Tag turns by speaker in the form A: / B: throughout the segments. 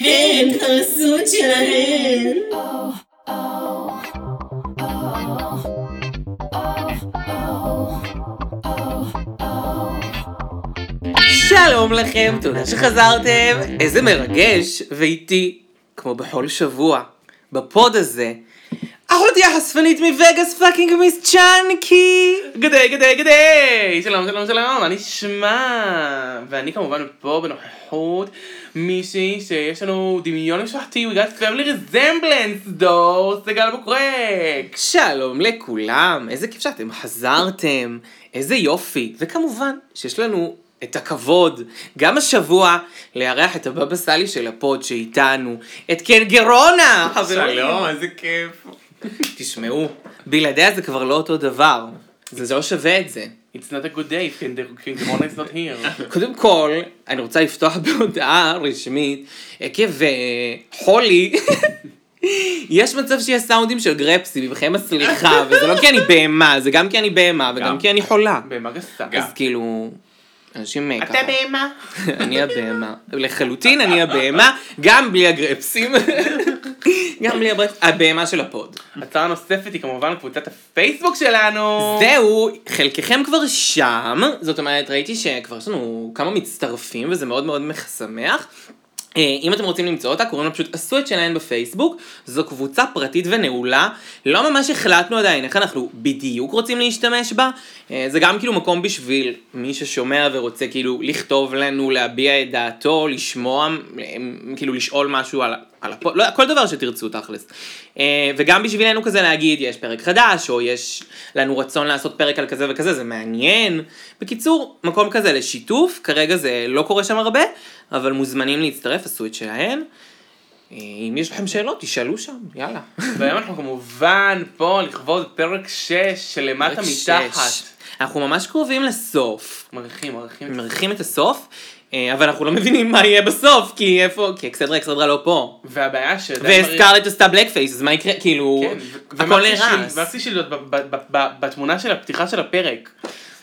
A: הן הזוג שלהן.
B: שלום לכם, תודה שחזרתם. איזה מרגש, ואיתי, כמו בכל שבוע, בפוד הזה, אחותי החשפנית מווגאס פאקינג מיס צ'אנקי! גדי גדי גדי! שלום שלום שלום, מה נשמע? ואני כמובן פה בנוכחות מישהי שיש לנו דמיון משפחתי, we got family resemblance, דור סגל בוקרק! שלום לכולם, איזה כיף שאתם חזרתם, איזה יופי, וכמובן שיש לנו את הכבוד, גם השבוע, לארח את הבבא סאלי של הפוד שאיתנו, את קנגרונה, חברים.
C: שלום, איזה כיף.
B: תשמעו, בלעדיה זה כבר לא אותו דבר. זה זה לא שווה את זה.
C: It's not a good day, קינגרונה is not here.
B: קודם כל, אני רוצה לפתוח בהודעה רשמית, עקב אה, חולי, יש מצב שיש סאונדים של גרפסי, מבחינתם הסליחה, וזה לא כי אני בהמה, זה גם כי אני בהמה, וגם
C: גם.
B: כי אני חולה.
C: בהמה גסה.
B: אז כאילו, אנשים אה, ככה.
C: בהמה.
B: אני הבהמה. לחלוטין אני הבהמה, גם בלי הגרפסים. גם בלי הגרפסים. הבהמה של הפוד.
C: הצעה נוספת היא כמובן קבוצת הפייסבוק שלנו.
B: זהו, חלקכם כבר שם, זאת אומרת, ראיתי שכבר יש לנו כמה מצטרפים וזה מאוד מאוד משמח. אה, אם אתם רוצים למצוא אותה, קוראים לה פשוט עשו את שלהן בפייסבוק, זו קבוצה פרטית ונעולה, לא ממש החלטנו עדיין איך אנחנו בדיוק רוצים להשתמש בה, אה, זה גם כאילו מקום בשביל מי ששומע ורוצה כאילו לכתוב לנו, להביע את דעתו, לשמוע, אה, כאילו לשאול משהו על, על הפוד, לא, כל דבר שתרצו תכלס. אה, וגם בשבילנו כזה להגיד, יש פרק חדש, או יש לנו רצון לעשות פרק על כזה וכזה, זה מעניין. בקיצור, מקום כזה לשיתוף, כרגע זה לא קורה שם הרבה, אבל מוזמנים להצטרף, עשו את שלהם. אה, אם יש לכם שאלות, תשאלו שם, יאללה.
C: והיום אנחנו כמובן פה לכבוד פרק 6 של למטה
B: פרק שש.
C: מתחת.
B: אנחנו ממש קרובים לסוף.
C: מריחים, מריחים.
B: מריחים את הסוף, אה, אבל אנחנו לא מבינים מה יהיה בסוף, כי איפה, כי אקסדרה אקסדרה לא פה.
C: והבעיה שעדיין
B: וסקארלט עשתה בלק פייס, אז מה יקרה, כאילו,
C: כן, ו-
B: הכל
C: ומקסי שיל-
B: נהרס.
C: מקסי שילדות ב- ב- ב- ב- בתמונה של הפתיחה של הפרק.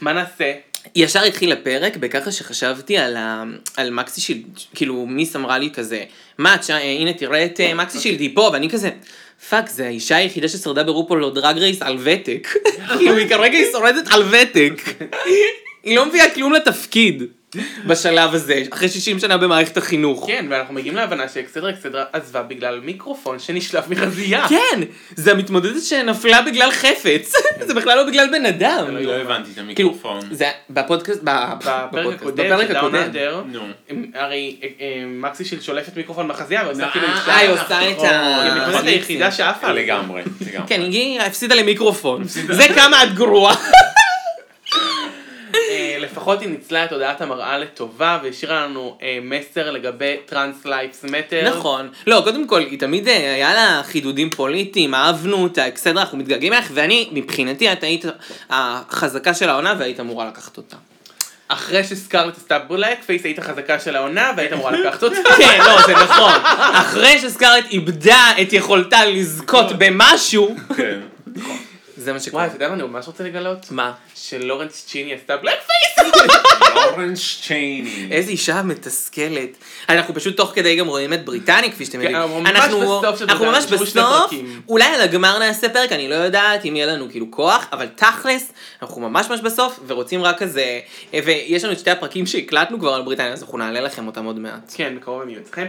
C: מה נעשה?
B: ישר התחיל הפרק בככה שחשבתי על, ה... על מקסי שילד, כאילו מיס אמרה לי כזה, מה, תשע, הנה תראה את אה, מקסי
C: אוקיי.
B: שילד, היא פה, ואני כזה, פאק, זה האישה היחידה ששרדה ברופול או דרג רייס על ותק. כאילו היא כרגע היא שורדת על ותק. היא לא מביאה כלום לתפקיד בשלב הזה, אחרי 60 שנה במערכת החינוך.
C: כן, ואנחנו מגיעים להבנה שאקסדרה אקסדרה עזבה בגלל מיקרופון שנשלף מחזייה.
B: כן, זה המתמודדת שנפלה בגלל חפץ, זה בכלל לא בגלל בן אדם.
D: אני לא הבנתי את
B: כאילו,
D: המיקרופון.
B: זה בפודקאסט,
C: בפרק
B: בפודקאסט,
C: הקודם של דאון אנדר,
D: נו.
C: הרי אה, אה, מקסי של שולפת מיקרופון מהחזייה ועושה
D: אה,
C: כאילו
B: אה, היא
C: אישה.
B: עושה את
D: נכון.
B: ה...
C: היא המתמודדת
B: נכון.
C: היחידה שעפה. על זה.
D: לגמרי, לגמרי.
B: כן, היא הפסידה למיקרופון. זה כמה את גרועה.
C: אה, לפחות היא ניצלה את הודעת המראה לטובה והשאירה לנו אה, מסר לגבי טרנס לייפס מטר.
B: נכון. לא, קודם כל, היא תמיד אה, היה לה חידודים פוליטיים, אהבנו אותה, בסדר, אנחנו מתגעגעים אלייך, ואני, מבחינתי, את היית החזקה של העונה והיית אמורה לקחת אותה.
C: אחרי שסקארלט עשתה בלק פייס היית חזקה של העונה והיית אמורה לקחת אותה.
B: כן, לא, זה נכון. אחרי שסקארלט איבדה את יכולתה לזכות במשהו,
D: כן.
B: זה מה שקורה.
C: וואי, אתה יודע מה אני ממש רוצה לגלות?
B: מה?
C: שלורנס צ'יני עשתה בלק פייס.
D: אורנג'
C: Mm.
D: צ'ייני.
B: איזה אישה מתסכלת. אנחנו פשוט תוך כדי גם רואים את בריטניה, כפי שאתם
C: כן,
B: יודעים.
C: אנחנו ממש בסוף של
B: אנחנו
C: בריטניה,
B: ממש
C: נשארו שני
B: בסוף,
C: פרקים.
B: אולי על הגמר נעשה פרק, אני לא יודעת אם יהיה לנו כאילו כוח, אבל תכלס, אנחנו ממש ממש בסוף, ורוצים רק כזה, אה, ויש לנו את שתי הפרקים שהקלטנו כבר על בריטניה, אז אנחנו נעלה לכם אותם עוד מעט.
C: כן, בקרוב הם יהיו אצלכם.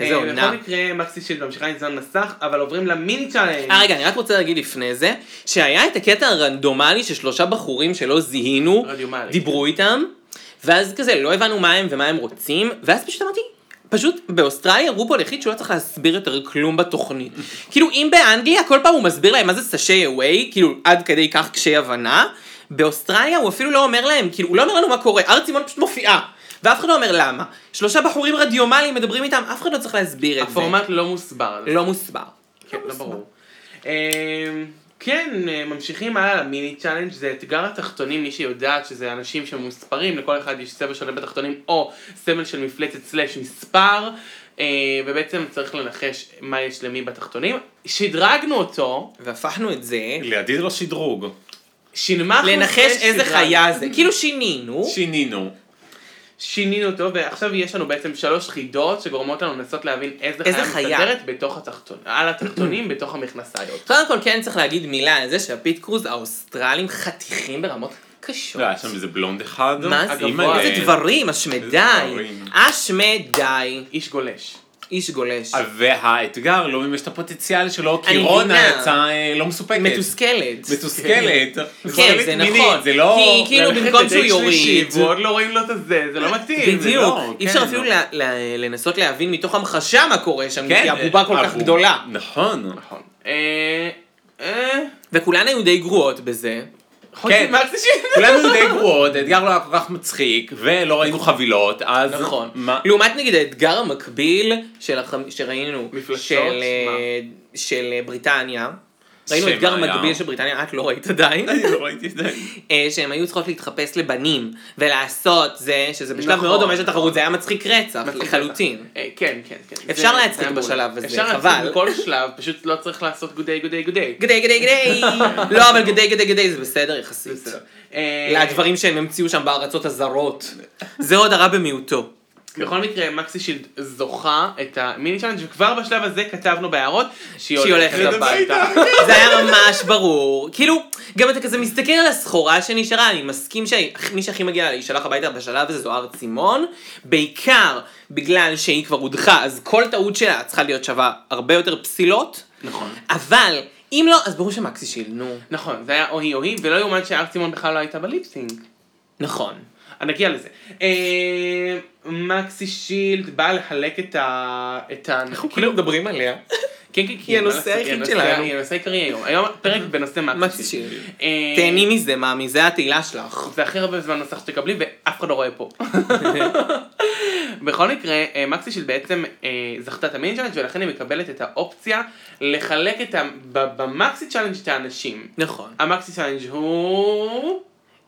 B: איזה
C: אה,
B: עונה.
C: בכל מקרה מקסי שילד ממשיכה לזמן מסך אבל עוברים למיני צ'אלנג'.
B: אה, רגע, אני רק רוצה להגיד לפני זה, שהיה את הקטע הרנדומלי ששלושה בחורים שלא זיהינו,
C: רדיומלי. כן.
B: דיברו איתם, ואז כזה לא הבנו מה הם ומה הם רוצים, ואז פשוט אמרתי, פשוט באוסטרליה רופול החליט שהוא לא צריך להסביר יותר כלום בתוכנית. כאילו אם באנגליה כל פעם הוא מסביר להם מה זה סשי אווי, כאילו עד כדי כך קשי הבנה, באוסטרליה הוא אפילו לא אומר להם, כאילו הוא לא אומר לנו מה קורה, הר צימון פשוט מופיעה. ואף אחד לא אומר למה. שלושה בחורים רדיומליים מדברים איתם, אף אחד לא צריך להסביר את זה.
C: הפורמט לא מוסבר.
B: לא מוסבר.
C: כן, לא ברור. אה, כן, אה, ממשיכים הלאה למיני צ'אלנג' זה אתגר התחתונים, מי שיודעת שזה אנשים שמוספרים, לכל אחד יש סמל שונה בתחתונים, או סמל של מפלצת סלאש מספר, אה, ובעצם צריך לנחש מה יש למי בתחתונים. שדרגנו אותו,
B: והפכנו את זה
D: לידי זה לא שדרוג.
C: שינמכנו...
B: לנחש
C: סלש
B: איזה
C: שדרג.
B: חיה זה. כאילו שינינו,
D: שינינו.
C: שינינו אותו, ועכשיו יש לנו בעצם שלוש חידות שגורמות לנו לנסות להבין איזה,
B: איזה
C: חיה
B: חיה.
C: מסתדרת בתוך התחתונים, על התחתונים בתוך המכנסיות.
B: קודם כל כן צריך להגיד מילה על זה שהפיט קרוז האוסטרלים חתיכים ברמות קשות.
D: לא, היה שם איזה בלונד אחד.
B: מה זה?
C: הגבוה.
B: איזה דברים, השמדי.
D: איזה דברים.
B: השמדי.
C: איש גולש.
B: איש גולש.
D: והאתגר לא מימש את הפוטנציאל שלו, כי
B: אני
D: רונה
B: מבינה.
D: יצאה אה, לא מסופקת.
B: מתוסכלת.
D: מתוסכלת.
B: כן,
D: מתוסכלת
B: זה
D: מינית,
B: נכון.
D: זה לא...
B: כי כאילו
C: ללכת
B: במקום שהוא
C: לדייט שלישי,
B: יוריד.
C: ועוד לא רואים לו את הזה, זה לא מתאים.
D: זה
B: בדיוק,
D: לא,
B: אי אפשר
D: כן,
B: אפילו
D: לא.
B: ל- ל- לנסות להבין מתוך המחשה מה קורה שם,
D: כן,
B: כי הבובה כל כך
D: הבוב-
B: גדולה.
D: נכון.
C: נכון. אה, אה,
B: וכולן היו די גרועות בזה.
C: חוץ
D: כן.
C: ממקסי ש...
D: כולם היו די גרועות, האתגר לא היה כל כך מצחיק, ולא ראינו חבילות, אז...
B: נכון.
D: מה-
B: לעומת נגיד האתגר המקביל של החמ- שראינו,
C: מפלצות?
B: של,
C: מה?
B: אה, של אה, בריטניה. ראינו
D: שמה
B: אתגר
D: היה?
B: מקביל של בריטניה, את לא ראית עדיין,
D: אני לא ראיתי את זה.
B: אה, שהם היו צריכות להתחפש לבנים ולעשות זה, שזה בשלב
C: נכון.
B: מאוד דומה של תחרות, זה היה מצחיק רצח
C: מצחיק
B: לחלוטין.
C: אה, כן, כן, כן.
B: אפשר
C: זה-
B: להצחיק
C: זה היה בול.
B: בשלב הזה,
C: אפשר
B: חבל.
C: להצחיק בכל שלב, פשוט לא צריך לעשות גודי גודי גודי.
B: גדי גדי גדי, לא אבל גדי גדי גדי זה בסדר יחסית.
C: אה,
B: לדברים שהם המציאו שם בארצות הזרות. זה עוד הרע במיעוטו.
C: בכל מקרה, מקסי שילד זוכה את המיני צ'אלנג' וכבר בשלב הזה כתבנו בהערות שהיא
B: שהיא
C: הולכת
B: הולכת
C: הביתה.
B: זה היה ממש ברור. כאילו, גם אתה כזה מסתכל על הסחורה שנשארה, אני מסכים שמי שהכי מגיע להישלח הביתה בשלב הזה זו הר צימון, בעיקר בגלל שהיא כבר הודחה, אז כל טעות שלה צריכה להיות שווה הרבה יותר פסילות,
C: נכון.
B: אבל אם לא, אז ברור שמקסי שילד, נו.
C: נכון, זה היה אוהי אוהי, ולא יאומן שהר סימון בכלל לא הייתה בליפסינג.
B: נכון.
C: נגיע לזה. אה, מקסי שילד באה לחלק את ה... את ה... כאילו-
B: מדברים עליה.
C: כן, כן, כן.
B: היא הנושא
C: מה לעשות, היא
B: היחיד
C: הנושא-
B: שלנו.
C: היא הנושא העיקרי היום. היום פרק בנושא
B: מקסי
C: מקסי שילד.
B: שילד.
C: אה,
B: תהני מזה, מאמי, זה התהילה שלך.
C: זה הכי הרבה זמן מסך שתקבלי ואף אחד לא רואה פה. בכל מקרה, אה, מקסי שילד בעצם אה, זכתה את המיני צ'אלנג' ולכן היא מקבלת את האופציה לחלק את ה... ב- במקסי צ'אלנג' את האנשים.
B: נכון.
C: המקסי צ'אלנג' הוא...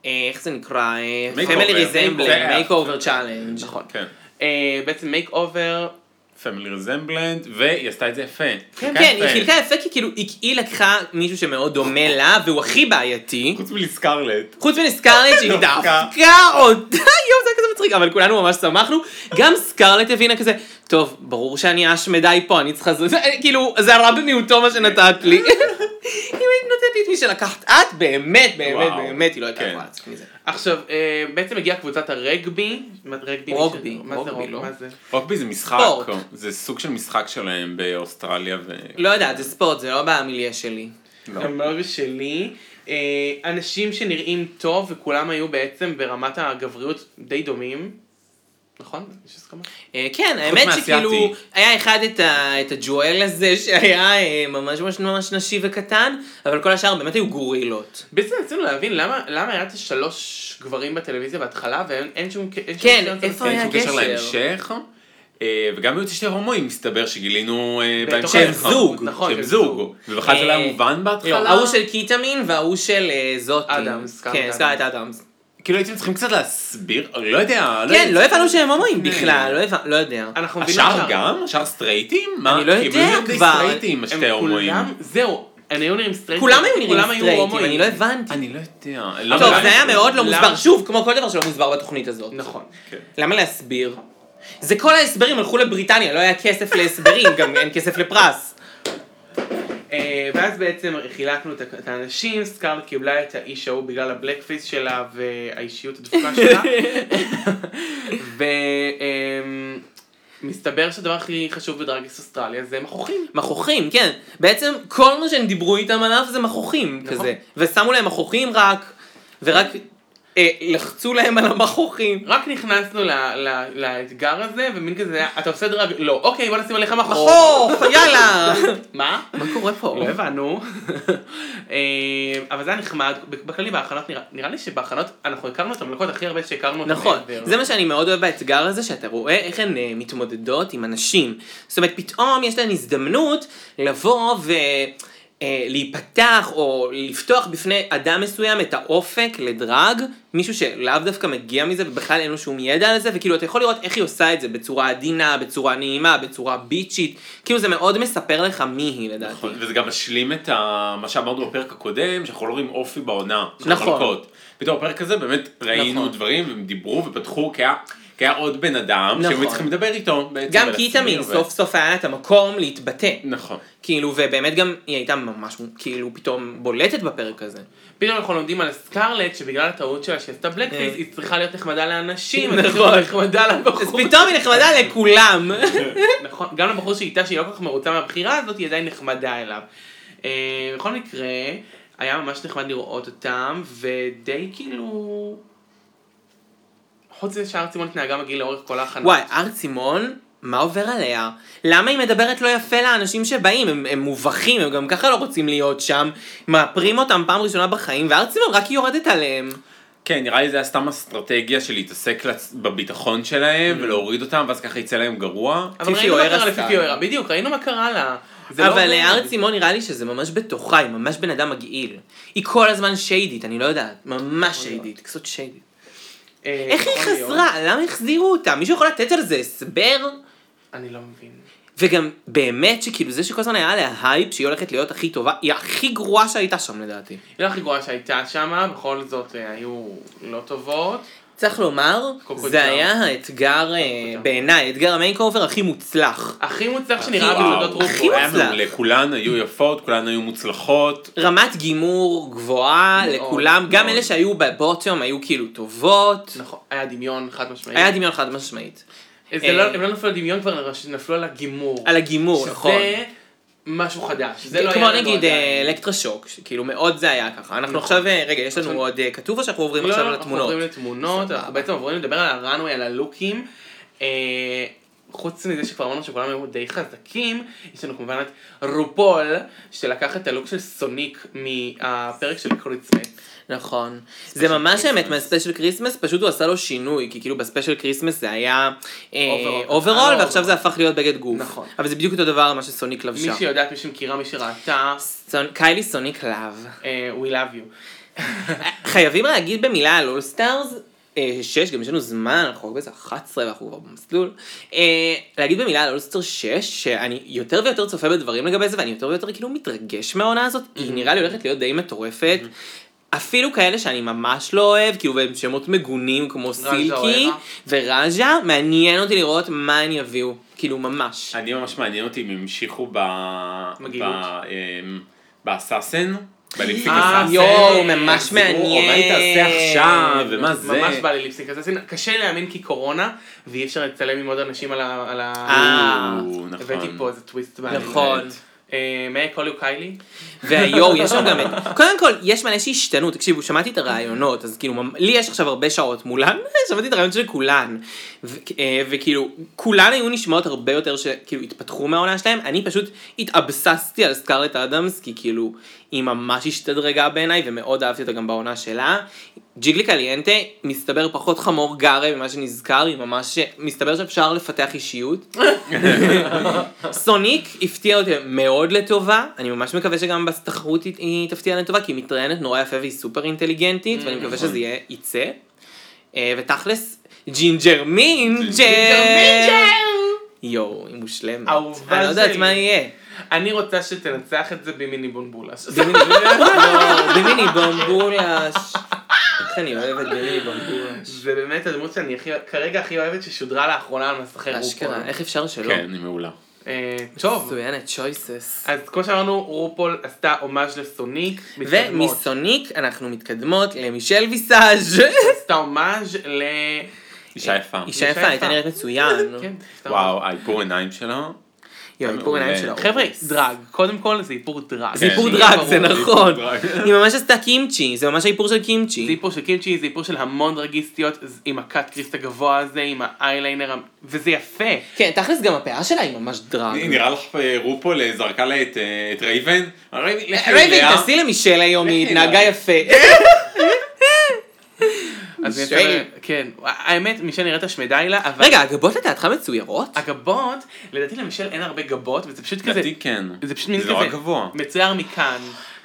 B: אה, איך זה נקרא? אה, Family
D: Makeover. Makeover.
B: Resemblance, Make Over Challenge.
C: נכון.
D: כן.
C: אה, בעצם מייק אובר
D: פמילי רזמבלנד, והיא עשתה את זה יפה.
B: כן,
D: חלקה
B: כן, היא
D: יפה.
B: חילקה יפה כי כאילו היא- היא לקחה מישהו שמאוד דומה לה והוא הכי בעייתי.
D: חוץ מלסקרלט.
B: חוץ מלסקרלט שהיא
D: דווקא.
B: דווקא אותה, יואו זה היה כזה מצחיק, אבל כולנו ממש שמחנו. גם סקרלט הבינה כזה, טוב, ברור שאני השמדי פה, אני צריכה... זה- זה- כאילו, זה הרע במיעוטו מה שנתת לי. אם היית נותנת לי את מי שלקחת את, באמת, באמת,
D: וואו.
B: באמת, היא לא הייתה
D: כן.
B: יכולה לעשות מזה.
C: עכשיו, אה, בעצם הגיעה קבוצת הרגבי, מה- רגבי,
B: רוגבי,
C: מה זה
B: רוגבי,
C: רוגבי,
B: לא?
C: מה זה?
D: רוקבי זה משחק,
B: ספורט.
D: או- זה סוג של משחק שלהם באוסטרליה ו...
B: לא יודעת, זה ספורט, זה לא במיליה שלי.
D: לא.
C: גם לא בשלי. אה, אנשים שנראים טוב וכולם היו בעצם ברמת הגבריות די דומים, נכון? יש הסכמה?
B: אה, כן, האמת
D: מהאסיאתי.
B: שכאילו, היה אחד את, ה, את הג'ואל הזה שהיה אה, ממש ממש ממש נשי וקטן, אבל כל השאר באמת היו גורילות.
C: בעצם רצינו להבין למה למה היה את השלוש גברים בטלוויזיה בהתחלה ואין אין שום... אין שום
B: כן,
C: ניסיון
B: איפה
C: לזה.
B: היה
D: אין שום קשר
B: גשר?
D: להמשך. אה, וגם היו את שתי הומואים, מסתבר, שגילינו אה,
C: בתוך
D: בהמשך.
B: שהם
C: נכון,
B: זוג.
C: נכון,
D: שהם זוג. ובכלל זה לא
B: אה,
D: היה מובן
B: לא,
D: בהתחלה.
B: ההוא של קיטמין וההוא של אה, זאתי.
C: אדמס, סקארלט
B: כן,
C: אדמס.
B: סקארלט אדמס.
D: כאילו הייתם צריכים קצת להסביר, לא יודע.
B: כן, לא
D: יודע.
B: הבנו שהם הומואים בכלל, לא הבנ- לא יודע.
C: אנחנו מבינים
D: השאר
C: עכשיו.
D: גם? השאר סטרייטים? מה?
B: אני לא
D: כי הם
B: יודע
D: היו די
B: כבר.
D: סטרייטים,
C: הם
D: השתי ההומואים.
C: כולם, זהו, הם היו נראים סטרייטים.
B: כולם היו נראים
C: כולם
B: סטרייטים,
C: הומואים.
B: אני לא הבנתי.
D: אני לא יודע.
B: טוב,
D: למה-
B: זה היה מאוד לא
C: למה-
B: מוסבר, שוב, כמו כל דבר שלא מוסבר בתוכנית הזאת.
C: נכון.
D: כן.
B: למה להסביר? זה כל ההסברים הלכו לבריטניה, לא היה כסף להסברים, גם אין כסף לפרס.
C: אה, ואז בעצם חילקנו את ה- את האנשים, סקארלט קיבלה את האיש ההוא בגלל הבלק פייס שלה והאישיות הדפוקה שלה. ומסתבר אמ, שהדבר הכי חשוב בדרגס אוסטרליה זה מכוחים.
B: מכוחים, כן. בעצם כל מה שהם דיברו איתם עליו זה מכוחים
C: נכון.
B: כזה. ושמו להם מכוחים רק, ורק אה, לחצו להם על המכוחים.
C: רק נכנסנו ל- ל- לאתגר הזה, ומין כזה, אתה עושה דרג, לא, אוקיי, בוא נשים עליך מכוח.
B: מכוך, יאללה.
C: מה?
B: מה קורה פה?
C: לא הבנו. אה, אבל זה היה נחמד, בכללי בהכנות, נראה- נראה לי שבהכנות אנחנו הכרנו את המלכות הכי הרבה שהכרנו. אותן
B: נכון,
C: ever.
B: זה מה שאני מאוד אוהב באתגר הזה, שאתה רואה איך הן אה, מתמודדות עם אנשים. זאת אומרת, פתאום יש להן הזדמנות לבוא ו... אה, להיפתח או לפתוח בפני אדם מסוים את האופק לדרג, מישהו שלאו דווקא מגיע מזה ובכלל אין לו שום ידע על זה, וכאילו אתה יכול לראות איך היא עושה את זה בצורה עדינה, בצורה נעימה, בצורה ביצ'ית, כאילו זה מאוד מספר לך מי היא לדעתי.
D: נכון, וזה גם משלים את ה... מה שאמרנו בפרק הקודם, שאנחנו לא רואים אופי בעונה. של
B: נכון.
D: המלכות. פתאום בפרק הזה באמת ראינו
B: נכון.
D: דברים, והם דיברו ופתחו, כי היה... כי היה עוד בן אדם שהם
B: נכון.
D: היו צריכים לדבר איתו בעצם.
B: גם
D: על
B: כי היא
D: עצמי,
B: תמיד
D: ו-
B: סוף סוף היה לה את המקום להתבטא.
D: נכון.
B: כאילו, ובאמת גם היא הייתה ממש כאילו פתאום בולטת בפרק הזה.
C: פתאום אנחנו לומדים על סקרלט שבגלל הטעות שלה שהיא עשתה בלק פייס
B: אה.
C: היא צריכה להיות נחמדה לאנשים,
B: נכון.
C: אז פתאום היא נחמדה
B: אז
C: לבחור.
B: פתאום היא נחמדה לכולם.
C: נכון, גם לבחור שאיתה שהיא לא כל כך מרוצה מהבחירה הזאת, היא עדיין נחמדה אליו. אה, בכל מקרה, היה ממש נחמד לראות אותם, ודי כאילו... חוץ מזה שהארצימון התנהגה מגעיל לאורך כל ההכנה.
B: וואי, הר צימון, מה עובר עליה? למה היא מדברת לא יפה לאנשים שבאים? הם, הם מובכים, הם גם ככה לא רוצים להיות שם. מאפרים אותם פעם ראשונה בחיים, והר צימון רק יורדת עליהם.
D: כן, נראה לי זה היה סתם אסטרטגיה של להתעסק לצ- בביטחון שלהם
B: Mm.
D: ולהוריד אותם, ואז ככה יצא להם גרוע.
C: אבל
B: פיפי
C: ראינו מה
B: אוהרה
C: קרה
B: סתם.
C: לפיפי אוהרה, בדיוק, ראינו מה קרה לה. זה לא
B: אבל אה,
C: אומר.
B: הר צימון נראה לי שזה ממש בתוכה, היא ממש בן אדם מגעיל. היא כל הזמן שיידית, אני לא יודעת. ממש שיידית, קצת שיידית.
C: אה,
B: איך היא
C: יכול להיות.
B: חזרה? למה החזירו אותה? מישהו יכול לתת על זה הסבר?
C: אני לא מבין.
B: וגם באמת שכאילו זה שכל הזמן היה עליה הייפ שהיא הולכת להיות הכי טובה, היא הכי גרועה שהייתה שם לדעתי.
C: היא לא הכי גרועה שהייתה שמה, בכל זאת אה, היו לא טובות.
B: צריך לומר,
C: קוקו
B: זה
C: ג'אם.
B: היה האתגר, אה,
C: ג'אם.
B: בעיניי, האתגר המייקאובר הכי מוצלח.
C: הכי מוצלח
B: הכי-
C: שנראה בתולדות
D: וואו,
B: הכי
C: רופו.
D: היה
B: מוצלח.
D: מעולה. כולן היו יפות, כולן היו מוצלחות.
B: רמת גימור גבוהה
C: מאוד,
B: לכולם, גם
C: מאוד.
B: אלה שהיו בבוטום היו כאילו טובות.
C: נכון, היה דמיון חד משמעית.
B: היה דמיון חד משמעית.
C: זה לא-
B: אה.
C: הם לא נפלו על דמיון כבר, נפלו על הגימור.
B: על הגימור, נכון.
C: שזה משהו חדש. זה לא
B: כמו
C: היה לנו
B: נגיד אה,
C: עדיין.
B: אלקטרה שוק, כאילו מאוד זה היה ככה. אנחנו
C: נכון.
B: עכשיו, אה, רגע, יש לנו
C: אנחנו-
B: עוד אה, כתוב או שאנחנו עוברים
C: לא,
B: עכשיו
C: לא, אנחנו
B: לתמונות?
C: עוברים לתמונות, אנחנו בעצם עוברים לדבר על הראנוי, על הלוקים. אה, חוץ מזה שכבר אמרנו שכולם היו די חזקים, יש לנו כמובן את רופול, שלקח את הלוק של סוניק מהפרק של קריצמט.
B: נכון. זה ממש האמת מהספיישל כריסמס, פשוט הוא עשה לו שינוי, כי כאילו בספיישל כריסמס זה היה
C: Overall.
B: אוברול,
C: אה, לא
B: ועכשיו זה הפך להיות בגד גוף.
C: נכון.
B: אבל זה בדיוק אותו דבר מה שסוניק
C: מי
B: לבשה.
C: שיודעת, מי שמכירה, מי שראתה,
B: סונ- קיילי סוניק להב.
C: אה, we love you.
B: חייבים להגיד במילה על אולסטארס, אה, שש, גם יש לנו זמן, אנחנו רק באיזה 11 ואנחנו כבר במסלול. אה, להגיד במילה על אולסטאר 6, שאני יותר ויותר צופה בדברים לגבי זה, ואני יותר ויותר כאילו מתרגש מהעונה הזאת,
D: Mm-hmm.
B: היא נראה לי הולכת להיות די מטורפת. אפילו כאלה שאני ממש לא אוהב, כאילו והם שמות מגונים כמו סילקי
C: אוהרה.
B: וראז'ה, מעניין אותי לראות מה הם יביאו, כאילו ממש.
D: אני ממש מעניין אותי אם המשיכו ב...
C: מגעילות.
D: ב- אמ, באסאסן. בליפיק
C: אה,
D: אסאסן.
B: יואו, ממש
D: סיפור,
B: מעניין.
D: מה היא תעשה
B: אה,
D: עכשיו, ומה זה.
C: ממש בא לי ליפסינק אסאסין. קשה לי להאמין כי קורונה, ואי אפשר לצלם עם עוד אנשים על ה... על ה...
B: אה,
D: או, נכון.
C: הבאתי פה איזה טוויסט בעניין.
B: נכון.
C: אה, מה יקול יו קיילי?
B: והיואו, יש שם גם את... קודם כל, יש מלא שהשתנו, תקשיבו, שמעתי את הרעיונות, אז כאילו, ממ- לי יש עכשיו הרבה שעות מולן, שמעתי את הרעיונות של כולן. ו- אה, וכאילו, כולן היו נשמעות הרבה יותר שכאילו התפתחו מהעונה שלהם, אני פשוט התאבססתי על סקארלט אדמס, כי כאילו, היא ממש השתדרגה בעיניי, ומאוד אהבתי אותה גם בעונה שלה. ג'יגלי קליינטה, מסתבר פחות חמור גרה ממה שנזכר, היא ממש, מסתבר שאפשר לפתח אישיות. סוניק הפתיע אותי מאוד לטובה, אני ממש מקווה שגם בתחרות היא- היא תפתיע לטובה, כי היא מתראיינת נורא יפה והיא סופר
C: Mm,
B: אינטליגנטית, ואני
C: נכון.
B: מקווה שזה יהיה יצא. אה, ותכלס, ג'ינג'ר מינג'ר! יואו, היא מושלמת.
C: אהובה
B: אני לא יודעת
C: שלי.
B: מה יהיה.
C: אני רוצה שתנצח את זה במיני בונבולס.
B: יואו, במיני בומבולש. איך אני אוהבת במיני בומבולש.
C: זה באמת הדמות שאני הכי, כרגע הכי אוהבת ששודרה לאחרונה על מסכי רופול.
B: אשכרה, איך אפשר שלא?
D: כן, היא מעולה.
C: אה, טוב,
B: מצוינת, choices.
C: אז כמו שאמרנו, רופול עשתה הומאז' לסוניק. מתקדמות.
B: ומסוניק אנחנו מתקדמות למישל
C: אה,
B: ויסאז'.
C: עשתה הומאז' ל...
D: אישה יפה.
B: אה, אישה יפה,
C: יפה.
B: הייתה נראית מצוין.
C: כן, עשתה הומאז'.
D: וואו, האיפור עיניים שלה.
B: אה. יואו, איפור
D: מעולה.
B: עיניים שלה.
C: חבר'ה, דרג, קודם כל זה איפור דרג.
B: כן, זה איפור
D: כן.
B: דרג, זה
C: ברור.
B: נכון.
D: זה איפור דרג.
B: היא ממש עשתה קימצ'י, זה ממש האיפור של
C: זה
B: קימצ'י.
C: איפור של קימצ'י, זה איפור של המון דרגיסטיות, ז- עם הקאט קריסט הגבוה הזה, עם האייליינר, ה- וזה יפה.
B: כן, תכלס גם הפאה שלה היא ממש דרג.
D: נראה לך אה, רופול אה, זרקה לה את, אה, את רייבן? רייבן, לכי אליה.
B: רייבן, תעשי למישל היום, היא כן.
D: לכי אליה.
B: התנהגה יפה.
C: אז
B: שייל.
C: יפה, כן. האמת, מישל נראית השמדה לה, אבל...
B: רגע, הגבות לדעתך מצוירות?
C: הגבות, לדעתי למישל אין הרבה גבות, וזה פשוט כזה...
D: לדעתי כן.
C: זה פשוט מין
D: זה
C: כזה...
D: נורא גבוה.
C: מצויר מכאן.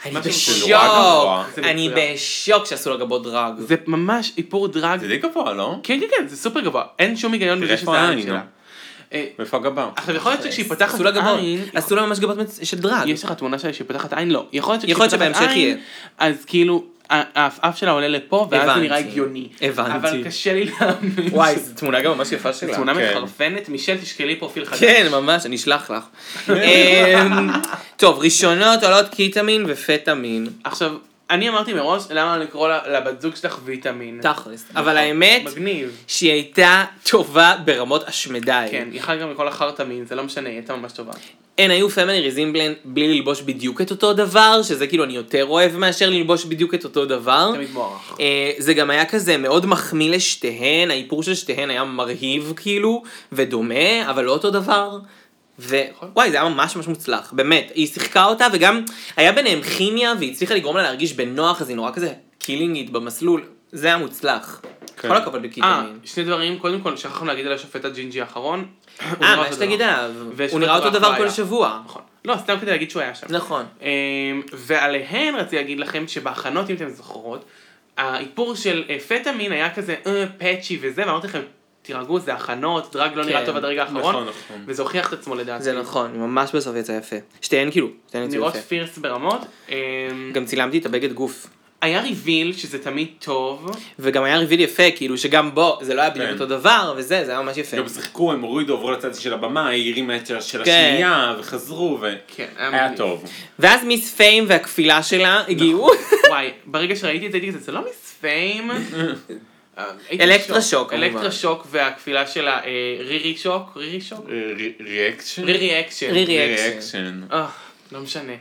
B: אני
C: משהו
B: בשוק,
C: כזה.
D: גבוה.
C: זה
B: אני
C: מצוין.
B: בשוק שעשו לה גבות דרג.
C: זה ממש איפור דרג.
D: זה די גבוה, לא?
C: כן, כן, כן, זה סופר גבוה. אין שום היגיון
D: תראה
C: בזה
D: איפה
C: שזה העין
D: העין,
C: שלה.
D: נו.
C: אה,
D: מאיפה הגבה?
C: עכשיו,
B: לא
C: יכול להיות שכשהיא פותחת
B: עשו לה גבות,
C: עין...
B: עשו לה ממש גבות מצ- של דרג.
C: יש לך תמונה שלה שהיא פותחת עין? לא. יכול להיות
B: יכול להיות
C: שכשהיא פותחת
B: שבהמשך
C: עין,
B: יהיה.
C: אז כאילו, האף שלה עולה לפה, ואז זה
B: הבנתי.
C: נראה הגיוני.
B: הבנתי.
C: אבל קשה לי להאמין.
B: וואי, זו תמונה גם ממש יפה שלה.
C: תמונה
D: כן.
C: מחרפנת, מישל תשקלי פרופיל חדש.
B: כן, ממש, אני אשלח לך. אמ, טוב, ראשונות עולות קיטמין ופטמין.
C: עכשיו, אני אמרתי מראש, למה לקרוא לה- לבת זוג שלך ויטמין?
B: תכלס. אבל האמת,
C: נכון. מגניב.
B: שהיא הייתה טובה ברמות השמדי.
C: כן, היא חיה גם מכל החרטמין, זה לא משנה, היא הייתה ממש טובה.
B: הן היו פמילי ריזימבלן בלי ללבוש בדיוק את אותו דבר, שזה כאילו אני יותר אוהב מאשר ללבוש בדיוק את אותו דבר.
C: תמיד מוערך.
B: אה, זה גם היה כזה מאוד מחמיא לשתיהן, האיפור של שתיהן היה מרהיב כאילו, ודומה, אבל לא אותו דבר.
C: נכון.
B: ווואי, זה היה ממש ממש מוצלח, באמת. היא שיחקה אותה, וגם היה ביניהם כימיה, והיא הצליחה לגרום לה להרגיש בנוח, אז היא נורא כזה קילינגית במסלול. זה היה מוצלח.
D: כן.
B: כל הכבוד
C: אה,
B: לקיטמין.
C: שני דברים, קודם כל שכחנו להגיד על השופט הג'ינג'י האחרון. הוא
B: אה,
C: נראה
B: מה
C: אותו
B: יש להגיד
C: דבר.
B: עליו?
C: ויש
B: הוא נראה
C: אותו
B: אותו
C: דבר
B: דבר
C: היה.
B: כל שבוע.
C: נכון. לא, סתם כדי להגיד שהוא היה שם.
B: נכון.
C: אמ, ועליהן רציתי להגיד לכם שבהכנות, אם אתם זוכרות, האיפור של אה, פטמין היה כזה אה, פאצ'י וזה, ואמרתי לכם, תירגעו, זה הכנות, דרג לא נראה
B: כן,
C: טוב עד הרגע
D: נכון,
C: האחרון,
D: נכון.
C: וזה הוכיח את עצמו לדעתי.
B: זה נכון, ממש בסוף יצא יפה. שתיהן כאילו, שתיהן יצאו
C: נראות
B: יפה.
C: פירס ברמות. אמ,
B: גם צילמתי את הבגד גוף.
C: היה ריביל, שזה תמיד טוב.
B: וגם היה ריביל יפה, כאילו שגם בו, זה לא היה בדיוק
D: כן.
B: אותו דבר, וזה, זה היה ממש יפה.
D: גם שיחקו, הם הורידו, עברו לצד של הבמה, היא הרימה את של של
B: כן.
D: השנייה, וחזרו, ו...
C: כן,
D: היה
C: מגניב.
D: טוב.
B: ואז מיס פיים והכפילה שלה
D: נכון.
B: הגיעו,
C: וואי, ברגע שראיתי את זה, הייתי כזה, זה לא מיס פיים. אה, הייתי
B: אלקטרה
C: בשוק.
B: שוק, כמובן.
C: אלקטרה שוק והכפילה שלה אה, רירי שוק, רירי שוק?
D: אה, ריאקשן?
C: רירי אקשן.
B: רירי.
D: ריאקשן.
C: אה, לא משנה,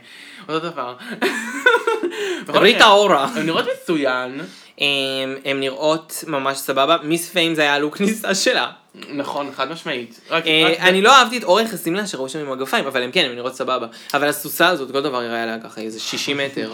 C: אותו דבר.
D: נכון.
B: דברי את האורה.
C: הן נראות מצוין,
B: אמ, הן נראות ממש סבבה, מיס פיים זה היה לוק כניסה שלה.
C: נכון, חד משמעית. רק-
B: אה,
C: רק-
B: אני לא אהבתי את אורך השמלה שראו שם עם מגפיים, אבל הם כן, הם נראות סבבה. אבל הסוסה הזאת, כל דבר יראה עליה ככה, איזה 60 מטר.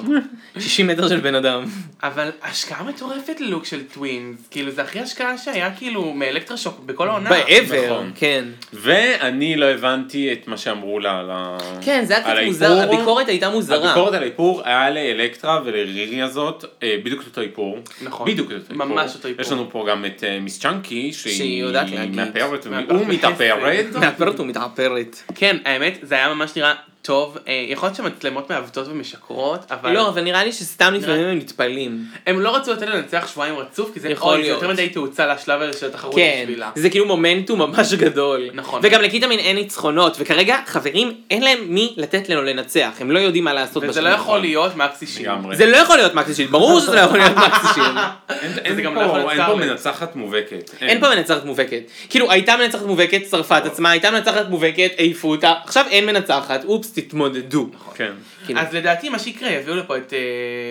B: 60 מטר של בן אדם.
C: אבל השקעה מטורפת ללוק של טווינס, כאילו זה הכי השקעה שהיה כאילו מאלקטרה שוק בכל העונה.
B: בעבר,
D: אה, נכון.
B: כן.
D: ואני לא הבנתי את מה שאמרו לה על ה...
B: כן, זה היה
D: על
B: קצת מוזר,
D: האיפור.
B: הביקורת הייתה מוזרה.
D: הביקורת על האיפור היה לאלקטרה ולרירי הזאת, אה, בדיוק את אותו איפור.
C: נכון.
D: בדיוק את אותו איפור.
C: ממש אותו איפור.
D: יש לנו פה גם את אה, מיס צ'אנקי,
B: שהיא
D: שהיא
B: יודעת להגיד.
D: מאפרת,
C: מאפרת
D: הוא מתאפרת.
C: בחסד.
B: מאפרת ומתעפרת.
C: כן, האמת, זה היה ממש נראה טוב. אה, יכול להיות שהמצלמות מעוותות ומשקרות, אבל...
B: לא, אבל נראה לי שסתם לפעמים הם נטפלים.
C: הם לא רצו לתת לה לנצח שבועיים רצוף, כי זה
B: יכול
C: אוי, זה
B: להיות.
C: יותר מדי תאוצה לשלב הזה של התחרות
B: כן,
C: בשבילה.
B: זה כאילו מומנטום ממש גדול.
C: נכון.
B: וגם לקיטמין אין ניצחונות, וכרגע, חברים, אין להם מי לתת לנו לנצח, הם לא יודעים מה לעשות
C: וזה
B: בשנים
C: לא יכול
B: האחרונות.
C: להיות מקסי שיר.
D: לגמרי.
B: זה לא יכול להיות מקסי שילד, ברור שזה לא יכול להיות מקסי שילד.
D: אין-
C: זה
D: אין
C: גם
D: פה-
C: לא יכול להיות
D: אין פה
C: סקארלט.
D: מנצחת מובהקת.
C: כן.
B: אין פה מנצחת מובהקת. כאילו, הייתה מנצחת מובהקת, שרפה את עצמה, הייתה מנצחת מובהקת, העיפו אותה, עכשיו אין מנצחת, אופס, תתמודדו.
C: נכון.
D: כן.
B: כאילו,
C: אז לדעתי מה שיקרה, יביאו לפה את אה,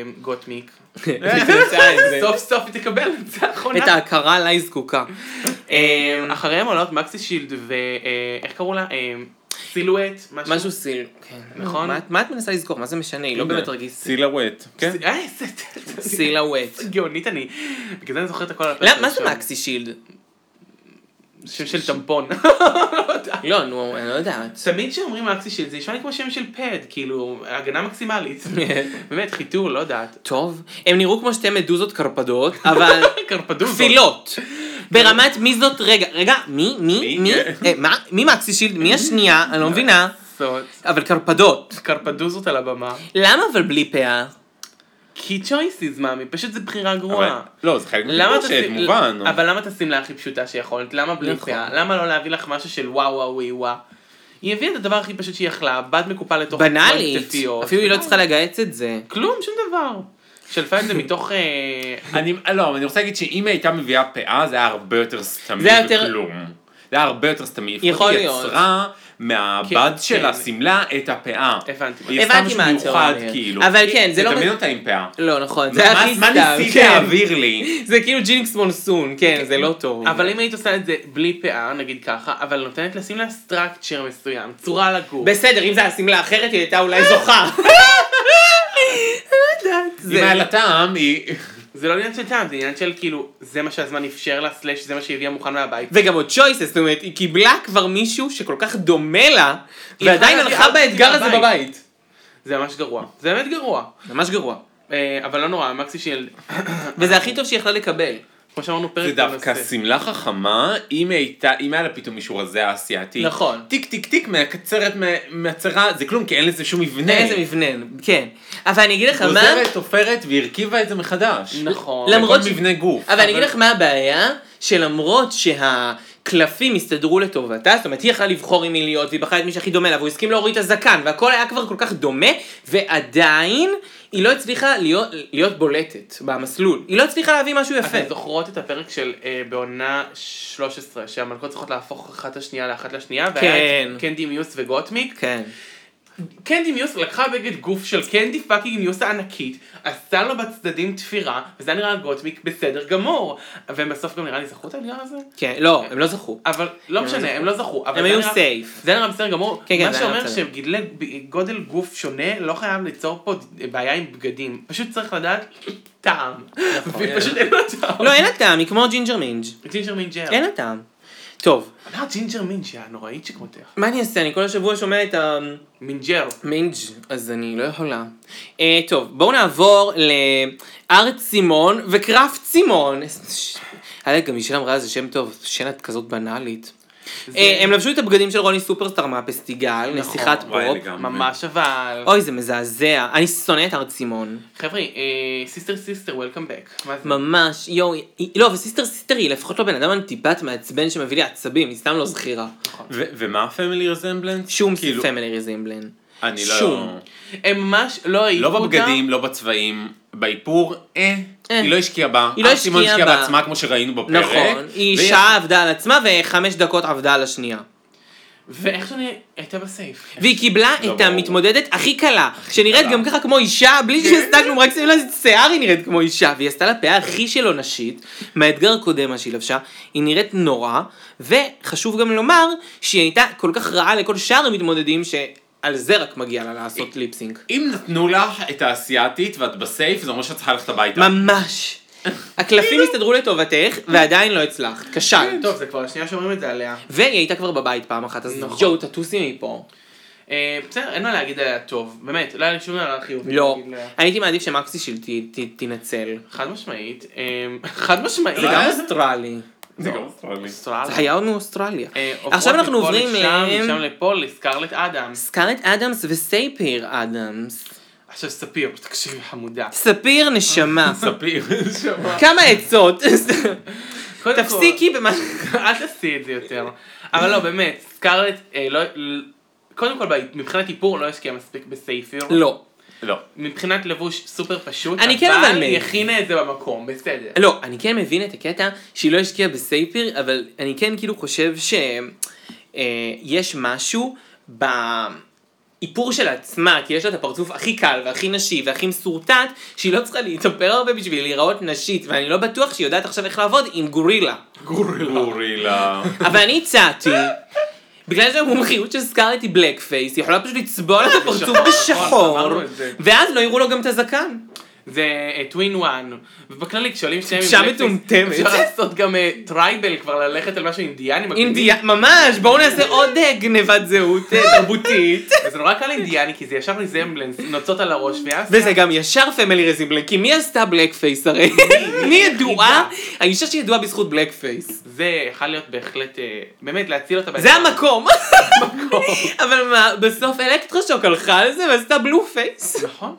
C: גוטמיק.
B: נמצא את אה, זה.
C: סוף סוף היא תקבל ניצח
B: את
C: עונה.
B: ההכרה לה היא זקוקה. אה,
C: אחריהם עולות מקסי שילד ואיך קראו לה? אה, סילואט?
B: משהו סיל, כן.
C: נכון? כן.
B: מה- מה את מנסה לזכור? מה זה משנה? היא לא באמת רגיסט.
D: סילואט. כן.
C: אה, איזה- איזה-
B: סילאווט.
C: גאונית אני. בגלל זה אני זוכרת הכל על הפרק
B: למה- לא, מה זה
C: הראשון.
B: מקסי שילד?
C: שם של טמפון.
B: לא, נו, אני לא יודעת.
C: תמיד כשאומרים מקסי שילד זה נשמע לי כמו שם של פד, כאילו, הגנה מקסימלית. באמת, חיתור, לא יודעת.
B: טוב, הם נראו כמו שתי מדוזות קרפדות, אבל
C: קרפדוזו.
B: כפילות. ברמת מי זאת, רגע, רגע, מי, מי,
D: מי? כן.
B: מי, אה, מה, מי מקסי שילד, מי השנייה, אני לא מבינה,
C: זאת.
B: אבל קרפדות.
C: קרפדוזות על הבמה.
B: למה אבל בלי פאה?
C: כי choices, מאמי, פשוט זו בחירה
D: אבל-
C: גרועה.
D: לא, זה חלק
C: למה
D: מתלבשת,
C: תשים-
D: מובן.
C: אבל למה את השמלה הכי פשוטה שיכולת? למה בלי
B: נכון.
C: פאה? למה לא להביא לך משהו של וואו וואו וואי וואו? היא הביאה את הדבר הכי פשוט שהיא יכלה, בד מקופל
D: לא,
C: לתוך
B: בנאלית,
C: כתפיות.
B: אפילו היא לא צריכה לגהץ את זה.
C: כלום, שום דבר. שלפה את זה מתוך... אה,
D: אני, לא, אבל אני רוצה להגיד שאם היא הייתה מביאה פאה, זה היה הרבה יותר סתמי
B: זה היה יותר-
D: וכלום. זה היה הרבה יותר סתמי.
B: יכול
D: לפחות
B: להיות.
D: היא יצרה מהבד
C: כן,
D: של
C: כן.
D: השמלה את הפאה.
C: הבנתי.
D: היא עשתה
B: הבנתי
D: משהו
B: מה את
D: מיוחד,
B: אומרת.
D: כאילו.
B: אבל כן, זה לא...
D: תדמיין אותה עם פאה.
B: לא, נכון, זה
D: מה
B: הכי
D: מה ניסית
B: סתם, כן.
D: להעביר לי?
B: זה כאילו ג'ינקס מונסון, כן, זה לא טוב.
C: אבל אם היית עושה את זה בלי פאה, נגיד ככה, אבל נותנת לשים לה סטרקצ'ר מסוים, צורה לגור.
B: בסדר, אם זה היה שמלה אחרת, היא הייתה
D: אה!
B: אולי זוכה. לא יודעת.
D: אם
B: זה-
D: היה לה טעם, היא...
C: זה לא עניין של טעם, זה עניין של כאילו, זה מה שהזמן אפשר לה, סלאש זה מה שהיא הביאה מוכן מהבית.
B: וגם עוד choices, זאת אומרת, היא קיבלה כבר מישהו שכל כך דומה לה, ועדיין
C: יכולה
B: הלכה
C: להיות
B: באתגר הזה
C: בבית.
B: בבית.
C: זה ממש גרוע. זה באמת גרוע.
B: ממש גרוע.
C: אה, אבל לא נורא, מקסי שילד.
B: וזה הכי טוב שהיא יכלה לקבל.
C: כמו שאמרנו פרק
D: זה דווקא
C: בנושא.
D: שמלה חכמה, אם הייתה, אם היה לה פתאום מישהו רזה האסייתי.
B: נכון.
D: טיק טיק טיק מהקצרת, מה- מהצרה, זה כלום, כי אין לזה שום מבנה.
B: איזה מבנה, כן. אבל אני אגיד לך מה...
D: גוזרת, עופרת והרכיבה את זה מחדש.
C: נכון.
B: למרות
D: לכל
B: ש-
D: מבנה גוף.
B: אבל אני אגיד לך מה הבעיה, שלמרות שהקלפים הסתדרו לטובתה, זאת אומרת היא יכלה לבחור עם מי להיות, והיא בחרה את מי שהכי דומה לה, והוא הסכים להוריד את הזקן, והכל היה כבר כל כך דומה, ועדיין היא לא הצליחה להיות, להיות בולטת במסלול. היא לא הצליחה להביא משהו יפה.
C: אתן זוכרות את הפרק של אה, בעונה 13, שהמלכות צריכות להפוך אחת השנייה לאחת לשנייה, והיה
B: כן.
C: את קנדי מיוס וגוטמיק.
B: כן.
C: קנדי מיוס לקחה בגד גוף של קנדי פאקינג מיוס הענקית, עשתה לו בצדדים תפירה, וזה היה נראה גוטמיק בסדר גמור. והם בסוף גם נראה לי זכו את האתגר הזה?
B: כן, לא, הם לא זכו.
C: אבל לא משנה,
B: זכו.
C: הם לא זכו. אבל
B: הם
C: זה
B: היו
C: נראה-
B: סייף.
C: זה נראה בסדר גמור,
B: כן, כן,
C: מה
B: זה היה
C: שאומר
B: בסדר.
C: שגודל גוף שונה לא חייב ליצור פה בעיה עם בגדים, פשוט צריך לדעת טעם,
B: נכון,
C: ופשוט אין לו טעם.
B: לא, אין לה טעם, היא כמו ג'ינג'ר מינג'.
C: ג'ינג'ר מינג'ר.
B: לא. אין לה טעם. טוב,
C: אמר ג'ינג'ר מינג' הנוראית שכמותך.
B: מה אני אעשה? אני כל השבוע שומע את ה...
C: מינג'ר.
B: מינג', אז אני לא יכולה. אה, טוב, בואו נעבור לארץ סימון וקראפט סימון. אלק, גם מישל אמרה זה שם טוב, שן את כזאת בנאלית. אה, הם לבשו את הבגדים של רוני סופרסטאר מהפסטיגל, נסיכת
D: נכון, וואי,
B: פופ.
D: לגמרי.
C: ממש אבל.
B: אוי, זה מזעזע. אני שונא את ארץ סימון.
C: חבר'ה, אה, סיסטר סיסטר, וולקאם בק. מה זה?
B: ממש, יואו, היא- לא, וסיסטר סיסטר היא לפחות לא בן אדם אנטיפט מעצבן שמביא לי עצבים, היא סתם לא זכירה.
D: ו- ומה הפמילי רזמבלנס?
B: שום
D: כאילו-
B: פמילי ריזימבלן.
D: אני
B: שום.
D: לא...
C: הם ממש לא העיפו
D: לא
C: אותה.
D: בבגדים, לא בצבעים, באיפור, אה.
B: אה.
D: היא לא השקיעה בה.
B: היא לא
D: אף סימון
B: השקיעה בה.
D: בעצמה כמו שראינו בפרק.
B: נכון, היא
D: והיא-
B: שעה עבדה על עצמה וחמש דקות עבדה על השנייה.
C: ואיך שאני הייתה בסייף.
B: והיא קיבלה
D: לא
B: את
D: ברור.
B: המתמודדת הכי קלה, שנראית
D: קלה.
B: גם ככה כמו אישה, בלי שעשתה כלום, רק שמים לה איזה שיער היא נראית כמו אישה, והיא עשתה לה פאה הכי שלא נשית, מהאתגר הקודם מה שהיא לבשה, היא נראית נורא, וחשוב גם לומר שהיא הייתה כל כך רעה לכל שאר המתמודדים, שעל זה רק מגיע לה לעשות ליפסינק.
D: אם נתנו לך את האסייתית ואת בסייף, זה אומר שאת צריכה ללכת הביתה.
B: ממש. הקלפים הסתדרו לטובתך, ועדיין לא הצלחת, כשלת.
C: טוב, זה כבר השנייה שאומרים את זה עליה.
B: והיא הייתה כבר בבית פעם אחת, אז
C: נכון.
B: ג'ו תטוסי מפה.
C: אה, בסדר, אין מה להגיד עליה טוב. באמת, לא היה לי שום דבר חיובי.
B: לא.
C: להגיד עליה.
B: הייתי מעדיף שמקסישיל ת- ת- תנצל.
C: חד משמעית. אה, חד משמעית.
B: זה גם אוסטרלי.
D: זה גם אוסטרלי.
B: זה
C: אוסטרלי.
B: היה עוד מאוסטרליה.
C: אה, עוברות
B: עכשיו אנחנו
C: מפה
B: עוברים
C: לשם, משם
B: ל...
C: לפה, לסקרלט אדמס.
B: סקארלט אדמס וסייפיר אדמס.
C: עכשיו ספיר, תקשיבי חמודה.
B: ספיר נשמה.
D: ספיר.
B: כמה עצות.
C: קודם כל-
B: תפסיקי במה...
C: אל תעשי את זה יותר. אבל לא, באמת, סקארלט, אה, לא, ל- קודם כל, ב- מבחינת איפור לא השקיעה מספיק בסייפיר.
B: לא.
D: לא.
C: מבחינת לבוש סופר פשוט,
B: אני כן אבל
C: אבל היא
B: מבין.
C: הכינה את זה במקום, בסדר.
B: לא, אני כן מבין את הקטע שהיא לא השקיעה בסייפיר, אבל אני כן כאילו חושב שיש משהו ב... איפור של עצמה, כי יש לה את הפרצוף הכי קל והכי נשי והכי מסורטט, שהיא לא צריכה להתאפר הרבה בשביל להיראות נשית, ואני לא בטוח שהיא יודעת עכשיו איך לעבוד עם גורילה.
D: גורילה.
B: אבל אני הצעתי, בגלל שהמומחיות של סקארלט היא בלק פייס, היא יכולה פשוט לצבוע לה את הפרצוף
C: בשחור, נכון,
B: בשחור,
C: אמרנו את זה.
B: ואז לא יראו לו גם את הזקן.
C: זה טווין וואן, ובכללי כשעולים שניהם
B: טיפשה
C: בלקפיס,
B: מטומטמת.
C: אפשר לעשות גם אה, טרייבל, כבר ללכת על משהו אינדיאני. מגניב.
B: אינדיה, ממש, בואו נעשה עוד אה, גניבת זהות אה, תרבותית.
C: וזה נורא קל אינדיאני, כי זה ישר ריזמבלנס, נוצות על הראש, ואז...
B: וזה גם ישר פמילי רזימבלן, כי מי עשתה בלק פייס הרי? מי ידועה? האישה שידועה בזכות בלק פייס.
C: זה יכול להיות בהחלט, אה, באמת, להציל אותה.
B: זה המקום. אבל מה, בסוף אלקטרושוק הלכה על זה ועשתה בלו פייס.
C: נכון.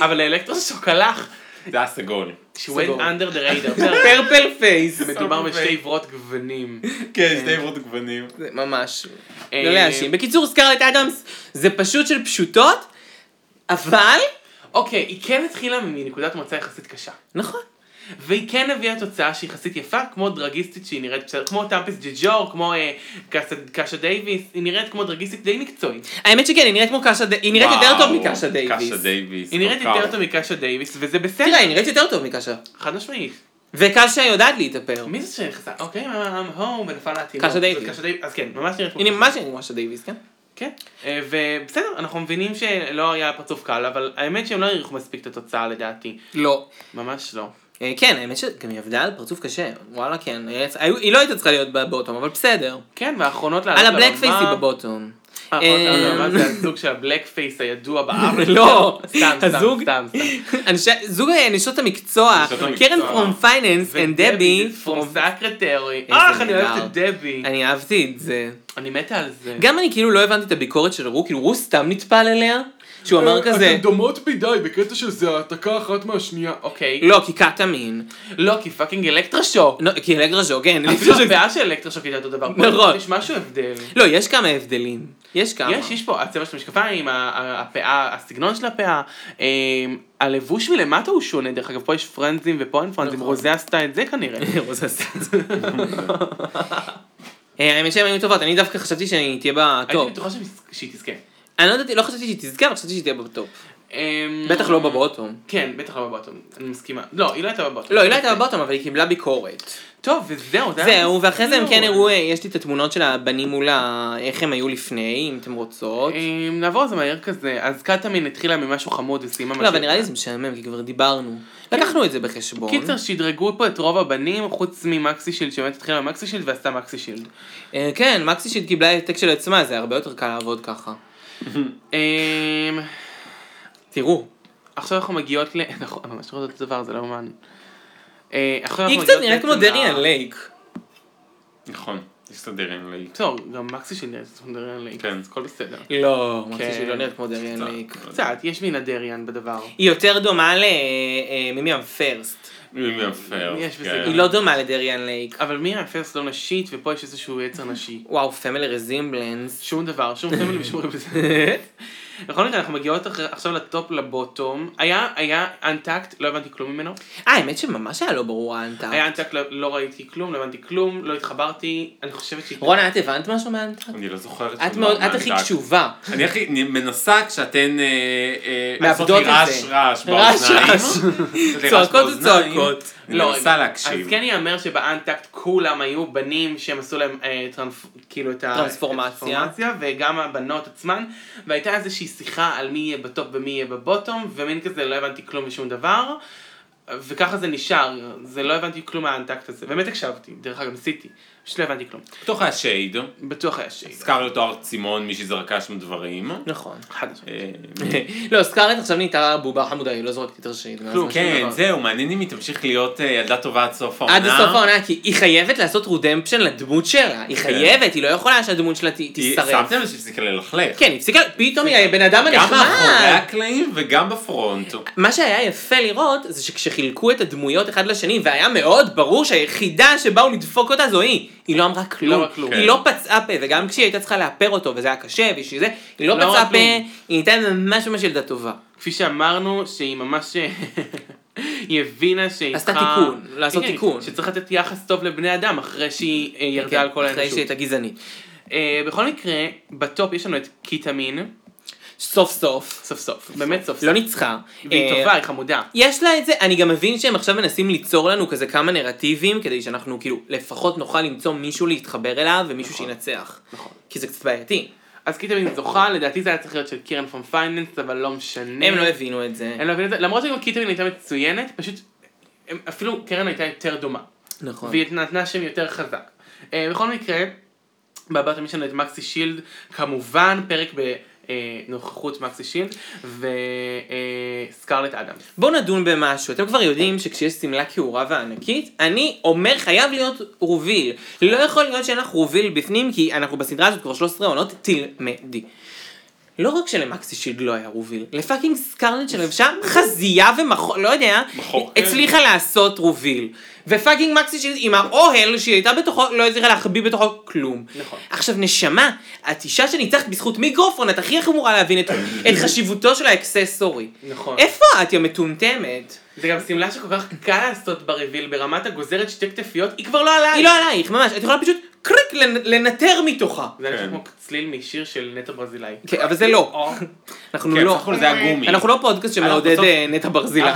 C: אבל אלקטרושוק הלך,
D: זה הסגול.
C: she went
B: סגור.
C: under the radar. בסדר,
B: פרפל פייס.
C: מדובר בשתי עברות גוונים.
D: כן, שתי עברות גוונים.
B: זה ממש.
C: אה,
B: לא להאשים. בקיצור, סקרלט אדמס זה פשוט של פשוטות, אבל...
C: אוקיי, היא כן התחילה מנקודת מוצא יחסית קשה.
B: נכון.
C: והיא כן הביאה תוצאה שהיא יחסית יפה, כמו דרגיסטית שהיא נראית בסדר, כמו טמפס ג'ג'ור, כמו אה, קאסה- קאשה דייוויס, היא נראית כמו דרגיסטית די מקצועית.
B: האמת שכן, היא נראית כמו קאשה ד... היא נראית יותר טוב מקאשה
D: קאשה
B: דייוויס.
D: דייוויס.
C: היא נראית
D: כל
C: יותר
D: כך.
C: טוב מקאשה דייוויס, וזה בסדר,
B: לא תראה, היא נראית יותר טוב מקאשה.
C: חד משמעית.
B: וקאשה יודעת להתאפר.
C: מי זה שנכנסה? אוקיי, I'm home, ונפל לה התינוק.
B: קאשה
C: זאת
B: דייוויס.
C: קאשה דייוויס. אז כן, ממש נראית כמו
B: הנה, ממש אני ממש דייוויס, כן?
C: כן, אה, ובסדר, אנחנו מבינים שלא היה פרצוף קל, אבל האמת שהם לא העריכו מספיק את התוצאה לדעתי.
B: לא.
C: ממש לא.
B: אה, כן, האמת שגם היא עבדה על פרצוף קשה. וואלה, אה, כן. היה- היו- היא לא הייתה צריכה להיות בבוטום, אבל בסדר.
C: כן, והאחרונות לעלות
B: על הבלק פייס היא בבוטום.
C: אה, אוקיי,
B: אמ,
C: מה זה הסוג של הבלק פייס הידוע בארץ?
B: לא,
C: סתם, סתם,
B: הזוג-
C: סתם, סתם.
B: אנשי, זוג אה, נשות המקצוע,
D: נשות המקצוע.
B: קרן פרום פייננס ודבי
C: פרום סקרטרי.
B: איזה
C: אך, אני
B: נהדר.
C: אוהבת את דבי.
B: אני אהבתי את זה.
C: אני מתה על זה.
B: גם אני כאילו לא הבנתי את הביקורת של רו, כאילו רו סתם נטפל אליה, שהוא
C: אה,
B: אמר כזה,
C: דומות מדי בקטע שזה העתקה אחת מהשנייה. אוקיי.
B: לא, כי קטאמין.
C: לא, כי פאקינג אלקטרשוק.
B: לא, כי אלגרז'ו, כן.
C: אפילו הבעיה של אלקטרשוק הייתה אותו דבר. פה
B: נכון.
C: יש משהו הבדל.
B: לא, יש כמה הבדלים. יש כמה.
C: יש, יש פה הצבע של המשקפיים, ה- ה- הפאה, הסגנון של הפאה, אמ, הלבוש מלמטה הוא שונה, דרך אגב, פה יש פרנזים ופה אין פרנזים,
B: נכון.
C: רוזה עשתה את זה כנראה.
B: רוזה עשתה את זה. אה, האמת שהן היו טובות, אני דווקא חשבתי שאני תהיה
C: הייתי
B: בטופ.
C: בטוחה שמס- שהיא תזכה.
B: אני לא ידעתי, לא חשבתי שהיא תזכה, אבל חשבתי שהיא תהיה בטופ.
C: אמ,
B: בטח לא בבוטום.
C: כן, בטח לא בבוטום, אני מסכימה. לא, היא לא הייתה בבוטום.
B: לא, היא לא הייתה בבוטום, אבל היא קיבלה ביקורת.
C: טוב, וזהו, זה היה
B: זהו, ואחרי זה הם כן
C: מסלול.
B: הראו, אה, יש לי את התמונות של הבנים מול ה... איך הם היו לפני, אם אתם רוצות.
C: אמ, נעבור על זה מהר כזה, אז קטאמין התחילה ממשהו חמוד וסיימה משהו...
B: לא, אבל נראה לי זה משעמם, כי כבר דיברנו. לקחנו את זה בחשבון.
C: כן. נכון. קיצר, שדרגו פה את רוב הבנים, חוץ ממקסי שילד, שבאמת התחילה במקסי שילד ועשתה מקסי שילד.
B: אה, כן, מקסי שהיא קיבלה העתק של עצמה, זה הרבה יותר קל לעבוד ככה.
C: אמ,
B: תראו,
C: עכשיו אנחנו מגיעות ל... נכון, אני ממש רואה את הדבר, זה לא אומן. אה, עכשיו
B: היא
C: אנחנו
B: קצת
C: מגיעות
B: נראית כמו
C: בעצם ל-
B: דריאן לייק.
D: נכון, תסתדר עם לי.
C: טוב, גם מקסי שלי נראית כמו דריאן לייק,
D: כן.
C: אז הכל בסדר.
B: לא,
C: כן.
B: מקסי שהיא לא נראית כמו דריאן לייק.
C: קצת, יש מן הדריאן בדבר.
B: היא יותר דומה למימיאם פרסט.
D: מיליון פר.
C: יש
D: כן.
C: בסגנון.
B: היא לא דומה לדריאן לייק.
C: אבל מי הפרס לא נשית, ופה יש איזשהו יצר נשי.
B: וואו, פמילי רזימבלנס.
C: שום דבר, שום סמל ושום רבז. בכל מקרה, אנחנו מגיעות אחרי- עכשיו לטופ לבוטום. היה, היה אנטקט, לא הבנתי כלום ממנו.
B: אה, האמת שממש היה לא ברור האנטה.
C: היה אנטקט, לא- לא ראיתי כלום, לא הבנתי כלום, לא התחברתי, אני חושבת שהיא...
B: רונה, את הבנת משהו מהאנטה?
D: אני לא זוכרת.
B: את
D: שום
B: מאוד,
D: דבר
B: את הכי
D: מהדק.
B: קשובה.
D: אני הכי אני מנסה כשאתן... אה, אה,
B: מאבדות
D: לעשות לי
B: את זה. רעש,
D: רעש רעש באוזניים.
B: רעש.
D: לעשות לי רעש
B: צועקות
D: באוזניים.
B: וצועקות.
D: אני
C: לא,
D: מנסה
C: אז
D: להקשיב.
C: כן ייאמר שבאנטקט כולם היו בנים שהם עשו להם אה, טרנפ... כאילו את ה...
B: טרנספורמציה.
C: טרנספורמציה, וגם הבנות עצמן, והייתה איזושהי שיחה על מי יהיה בטופ ומי יהיה בבוטום, ומין כזה לא הבנתי כלום משום דבר, וככה זה נשאר, זה לא הבנתי כלום מהאנטקט הזה, באמת הקשבתי, דרך אגב ניסיתי, פשוט לא הבנתי כלום,
D: בתוך השייד,
C: בטוח היה שייד,
D: סקרלט אוהר צימון, מישהי זרקה שם דברים.
B: נכון.
C: חד משמעית.
D: אה,
B: לא, סקארלט עכשיו נהייתה בובה חמודה, היא לא זורקת את ראשית. ואז
C: כלום,
B: משהו
D: כן,
B: דבר.
D: זהו, מעניין אם היא תמשיך להיות אה, ילדה טובה עד סוף העונה.
B: עד לסוף העונה, כי היא חייבת לעשות רודמפשן לדמות שלה. היא חייבת, היא לא יכולה שהדמות שלה ת-
D: כן. היא-
B: תישרף.
D: שמתם לב שהפסיקה ללכלך.
B: כן, היא הפסיקה, פתאום היא הבן אדם
D: גם מאחורי
B: הנחמד.
D: הקלעים וגם בפרונט.
B: מה שהיה יפה לראות, זה שכשחילקו את הדמויות אחד לשני, והיה מאוד ברור שהיחידה שבאו לדפוק אותה זו היא. היא לא אמרה כלום.
C: לא אמרה כלום.
B: היא לא פצעה פה, וגם כשהיא הייתה צריכה לאפר אותו, וזה היה קשה, ושזה, היא לא
C: לא אמרה
B: פצעה פה,
C: כלום.
B: היא הייתה ממש ממש ילדה טובה.
C: כפי שאמרנו, שהיא ממש... היא הבינה שהיא
B: עשתה תיקון, לעשות
C: כן,
B: תיקון. כן,
C: שצריך לתת יחס טוב לבני אדם אחרי שהיא אה, ירדה על כל האנושות.
B: אחרי שהיא הייתה גזענית.
C: אה, בכל מקרה, בטופ יש לנו את קיטמין,
B: סוף סוף.
C: סוף סוף, באמת סוף סוף.
B: לא ניצחה.
C: והיא
B: אה,
C: טובה, היא חמודה.
B: יש לה את זה, אני גם מבין שהם עכשיו מנסים ליצור לנו כזה כמה נרטיבים, כדי שאנחנו כאילו לפחות נוכל למצוא מישהו להתחבר אליו ומישהו
C: נכון.
B: שינצח.
C: נכון.
B: כי זה קצת בעייתי.
C: אז קיטמין זוכה, לדעתי זה היה צריך להיות של קירן פון פייננס, אבל לא משנה.
B: הם לא הבינו את זה.
C: הם לא הבינו את זה, למרות שגם קיטמין הייתה מצוינת, פשוט הם- אפילו קרן הייתה יותר דומה.
B: נכון.
C: והיא נתנה שם יותר חזק. אה, בכל מקרה, בבא תמיד יש לנו את מקסי שילד, כמובן פרק בנוכחות מקסי שילד וסקרלט אדמס.
B: בואו נדון במשהו. אתם כבר יודעים שכשיש שמלה כעורה וענקית, אני אומר חייב להיות רוביל. לא יכול להיות שאין לך רוביל בפנים, כי אנחנו בסדרה הזאת כבר 13 עונות, תלמדי. לא רק שלמקסי שילד לא היה רוביל, לפאקינג סקרלט שלבשה חזייה ומחור, לא יודע,
D: מחור, כן.
B: הצליחה לעשות רוביל. ופאקינג מקסי שילד עם האוהל שהיא הייתה בתוכו, לא הצליחה להחביא בתוכו כלום.
C: נכון.
B: עכשיו נשמה, את אישה שניצחת בזכות מיקרופון, את הכי איך אמורה להבין את, את חשיבותו של האקססורי.
C: נכון.
B: איפה את, יא מטומטמת?
C: זה גם שמלה שכל כך קל לעשות בריביל, ברמת הגוזרת שתי כתפיות, היא כבר לא עלייך.
B: היא לא עלייך, ממש, את יכולה פשוט קריק לנ- לנטר מתוכה.
C: זה אוקיי, היה נשמע
D: כן.
C: כמו צליל משיר של נטע ברזילאי.
B: כן, אבל זה לא.
C: או,
B: אנחנו
D: כן,
B: לא,
D: בסך הכל זה היה גומי.
B: אנחנו לא פודקאסט שמעודד
D: בסוף-
B: אה, נטע ברזילי.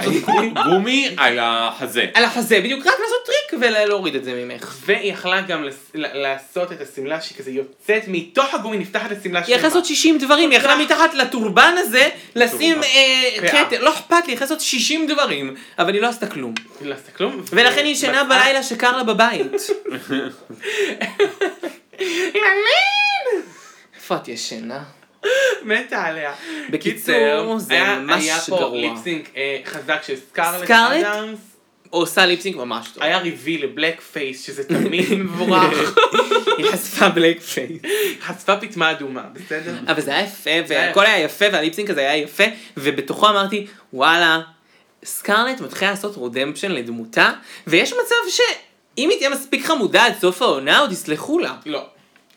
D: גומי על החזה.
B: על החזה בדיוק, רק לעשות טריק ולהוריד את זה ממך.
C: והיא יכלה גם לס- ל- לעשות את השמלה שהיא כזה יוצאת מתוך הגומי, נפתחת לשמלה
B: היא יכלה לעשות 60 דברים, היא יכלה מתחת לטורבן הזה לשים אה,
C: פאה.
B: כתר, לא אכפת לי, היא יכלה לעשות 60 דברים, אבל היא לא עשתה כלום.
C: לא עשתה כלום.
B: ולכן היא ישנה
C: ומצאה-
B: בלילה שקר לה בבית. איפה את ישנה?
C: מתה עליה.
B: בקיצור, זה
C: היה-
B: ממש
C: היה פה
B: גרוע.
C: ליפסינק אה, חזק של סקארלט
B: סקארלט?
C: אדמס.
B: עושה ליפסינג ממש טוב.
C: היה ריבי לבלק פייס, שזה תמיד מבורך.
B: היא חשפה בלייק פייס.
C: חשפה פיטמה אדומה, בסדר?
B: אבל זה היה יפה,
C: היה
B: והכל היה יפה, והליפסינק הזה היה יפה, ובתוכו אמרתי, וואלה, סקרלט מתחילה לעשות רודמפשן לדמותה, ויש מצב שאם היא תהיה מספיק חמודה עד סוף העונה, עוד יסלחו לה.
C: לא.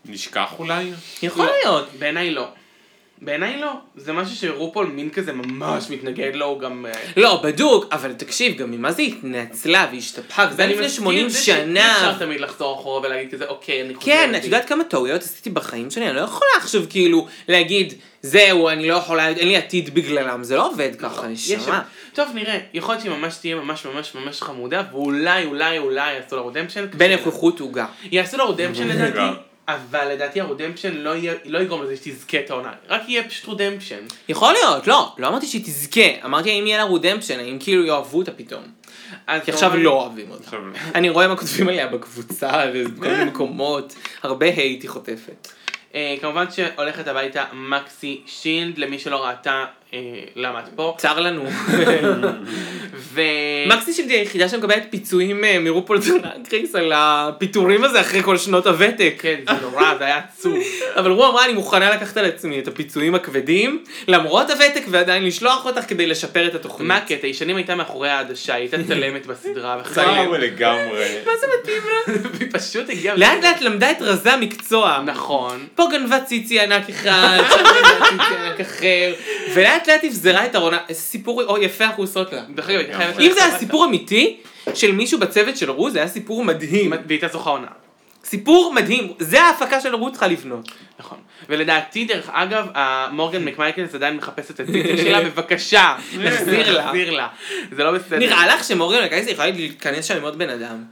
D: נשכח אולי?
B: יכול
C: לא.
B: להיות.
C: בעיניי לא. בעיניי לא. זה משהו שרופול מין כזה ממש מתנגד לו, הוא גם... אה,
B: לא, בדוק, אבל תקשיב, גם ממה זה התנצלה והשתפכה, וזה היה
C: ואני
B: לפני
C: מסכים
B: 80
C: זה שאי
B: שנה.
C: אפשר תמיד לחזור אחורה ולהגיד כזה, אוקיי, אני חוזר
B: כן,
C: בי."
B: את יודעת כמה טעויות עשיתי בחיים שלי? אני לא יכולה עכשיו כאילו להגיד, זהו, אני לא יכולה, אין לי עתיד בגללם, זה לא עובד ככה,
C: יש שם.
B: נשמה.
C: טוב, נראה. יכול להיות שהיא ממש תהיה ממש ממש ממש חמודה, ואולי, אולי, אולי יעשו לה רודמפשן.
B: בנוכחות עוגה.
C: יעשו לה רודמפשן
D: גם.
C: לדעתי, אבל לדעתי הרודמפשן לא יהיה- לא יגרום לזה שתזכה את העונה. רק יהיה פשוט רודמפשן.
B: יכול להיות, לא, לא אמרתי שהיא תזכה, אמרתי האם יהיה לה רודמפשן, האם כאילו יאהבו אותה פתאום.
C: אז
B: כי עכשיו
C: אתה אומר-
B: לא אוהבים אותה.
D: עכשיו,
B: אני רואה מה כותבים עליה בקבוצה, ובכל מיני מקומות, הרבה הייט היא חוטפת.
C: אה, כמובן שהולכת הביתה מקסי שילד, למי שלא ראתה, אה, למה את פה.
B: צר לנו.
C: ו...
B: מקסי שלי היא היחידה שמקבלת פיצויים אה, מרופול דונקריס על הפיטורים הזה אחרי כל שנות הוותק.
C: כן, זה נורא, זה היה עצוב.
B: אבל הוא אמרה, אני מוכנה לקחת על עצמי את הפיצויים הכבדים, למרות הוותק, ועדיין לשלוח אותך כדי לשפר את התוכנית.
C: מה הקטע? היא שנים הייתה מאחורי העדשה, היא הייתה צלמת בסדרה, וחיים.
D: וואו לגמרי.
B: מה זה מתאים לה?
C: היא פשוט הגיעה...
B: לאט לאט למדה את רזי המקצוע.
C: נכון.
B: פה גנבה ציצי ענק אחד, שם גנבה ציצי ענק אחר, ולאט לאט הבזרה את ארונה, איזה סיפור או יפה אנחנו עושות לה.
C: דרך אגב, הייתה חייבת...
B: אם זה היה
C: ללכת
B: סיפור אמיתי של מישהו בצוות של רות, זה היה סיפור מדהים.
C: הביתה. והיא הייתה זוכה עונה.
B: סיפור מדהים, זה ההפקה של רות צריכה לבנות.
C: נכון. ולדעתי, דרך אגב, ה- מורגן מקמייקלס עדיין מחפשת את הציטר שלה, בבקשה.
B: נחזיר לה.
C: נחזיר לה. זה לא בסדר.
B: נראה לך שמורגן לקייסר יכולה להיכנס שם עם עוד בן אדם.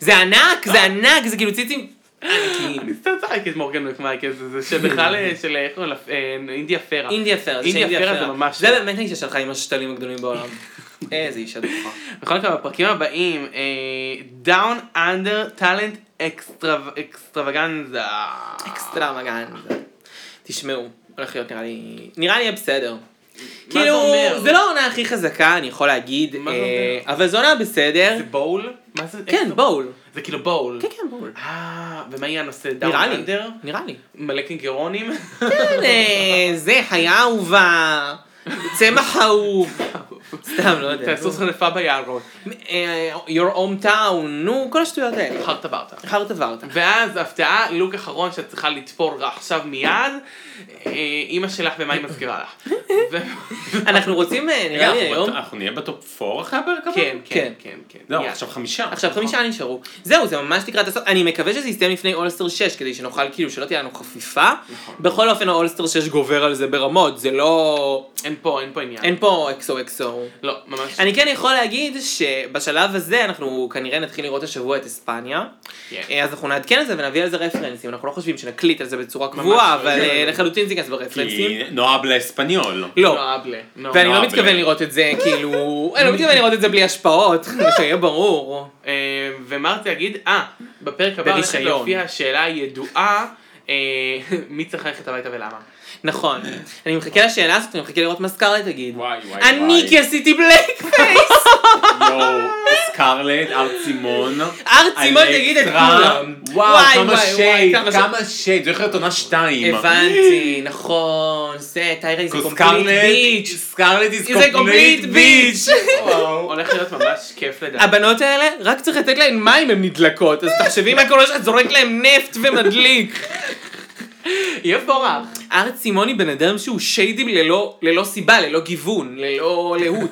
B: זה ענק, זה ענק, זה כאילו ציצים
C: אני
B: ענקים.
C: סתם צחקתי את מורגן מקמייקלס, זה שבכלל אה, של איך קוראים לה? אה, אינדיה פרה.
B: אינדיה פרה, זה של
C: אינדיה
B: אינדיה
C: פרה זה
B: פרה.
C: ממש
B: זה
C: לא.
B: באמת האישה שלך עם השתלים הגדולים בעולם. איזה אישה דוחה.
C: בכל מקרה, בפרקים הבאים, אה, דאון אנדר טאלנט אקסטרווגנזה.
B: אקסטרמגנזה. תשמעו, הולך להיות נראה לי, נראה לי יהיה בסדר.
C: זה
B: כאילו,
C: אומר?
B: זה לא העונה הכי חזקה, אני יכול להגיד,
C: מה זה
B: אה, אבל זו עונה בסדר.
C: זה בול? מה זה?
B: כן,
C: extra-
B: בול.
C: זה כאילו בול.
B: כן, כן, בול.
C: אה, ומה יהיה הנושא? דאון
B: נראה לי,
C: אנדר?
B: נראה לי.
C: מלא קנגרונים?
B: כן, אה, זה חיה אהובה, צמח אהוב. סתם, לא יודע.
C: תעשו חנפה ביערות.
B: אה, your home town, נו, כל השטויות האלה.
C: חרטה ברטה.
B: חרת עברת.
C: ואז הפתעה, לוק אחרון שאת צריכה לתפור עכשיו מיד, אה, אימא שלך ומה היא מזכירה לך. ו-
B: אנחנו רוצים, אה,
D: רגע,
B: נראה לי
D: אנחנו
B: היום.
D: בת- אנחנו נהיה בטופ 4 אחרי הפרק הבא?
C: כן,
B: כן.
C: כן, כן, כן.
D: לא,
C: יאללה.
D: עכשיו חמישה.
B: עכשיו חמישה נשארו. זהו, זה ממש לקראת הסוף. אני מקווה שזה יסתיים לפני אולסטר 6, כדי שנוכל, כאילו, שלא תהיה לנו חפיפה. בכל אופן, האולסטר 6 גובר על זה ברמות, זה לא...
C: אין פה, אין פה עניין.
B: אין פה אקסו אקסו.
C: לא, ממש.
B: אני כן יכול להגיד שבשלב הזה אנחנו כנראה נתחיל לראות השבוע את אספניה.
C: כן.
B: אה, אז אנחנו נעדכן על זה ונביא על זה רפרנסים. אנחנו לא חושבים שנקליט על זה בצורה קבועה,
C: לא,
B: אבל
C: לא,
B: אה,
C: לא.
B: לחלוטין זה ייכנס
D: כי
B: ברפרנסים.
D: נועה בלאספניול.
B: לא.
C: לא, אבלה. לא.
B: ואני
D: נועה
B: לא מתכוון
D: בלב.
B: לראות את זה, כאילו... אני לא מתכוון לראות את זה בלי השפעות, שיהיה ברור.
C: אה, ומרתי יגיד, אה, בפרק הבא הולכת
B: ברישיון.
C: להופיע השאלה הידועה, אה, מי צריך ללכת הביתה ולמה.
B: נכון. אני מחכה לשאלה הזאת, אני מחכה לראות מה סקארלט תגיד.
D: וואי וואי וואי.
B: אני כי עשיתי בלייק פייס!
D: יואו, סקארלט, הר צימון.
B: הר צימון, תגיד את
D: אלקטרה.
B: כולם. וואי,
D: וואו, כמה
B: וואי,
D: שייד,
B: וואי, כמה
D: כמה שייד. זה הולך להיות עונה שתיים.
B: הבנתי, נכון, זה, טיירי זה קומפליט
D: סקארלט,
B: ביץ'.
D: סקארלט is
B: זה complete
D: complete
B: bitch.
D: bitch.
C: הולך להיות ממש כיף לדעת.
B: הבנות האלה, רק צריך לתת להן מים, הן נדלקות, אז תחשבי מה קורה שאת זורק להן נפט ומדליק.
C: יהיה פורח.
B: הר צימון היא בן אדם שהוא שיידי ללא ללא סיבה, ללא גיוון, ללא להות,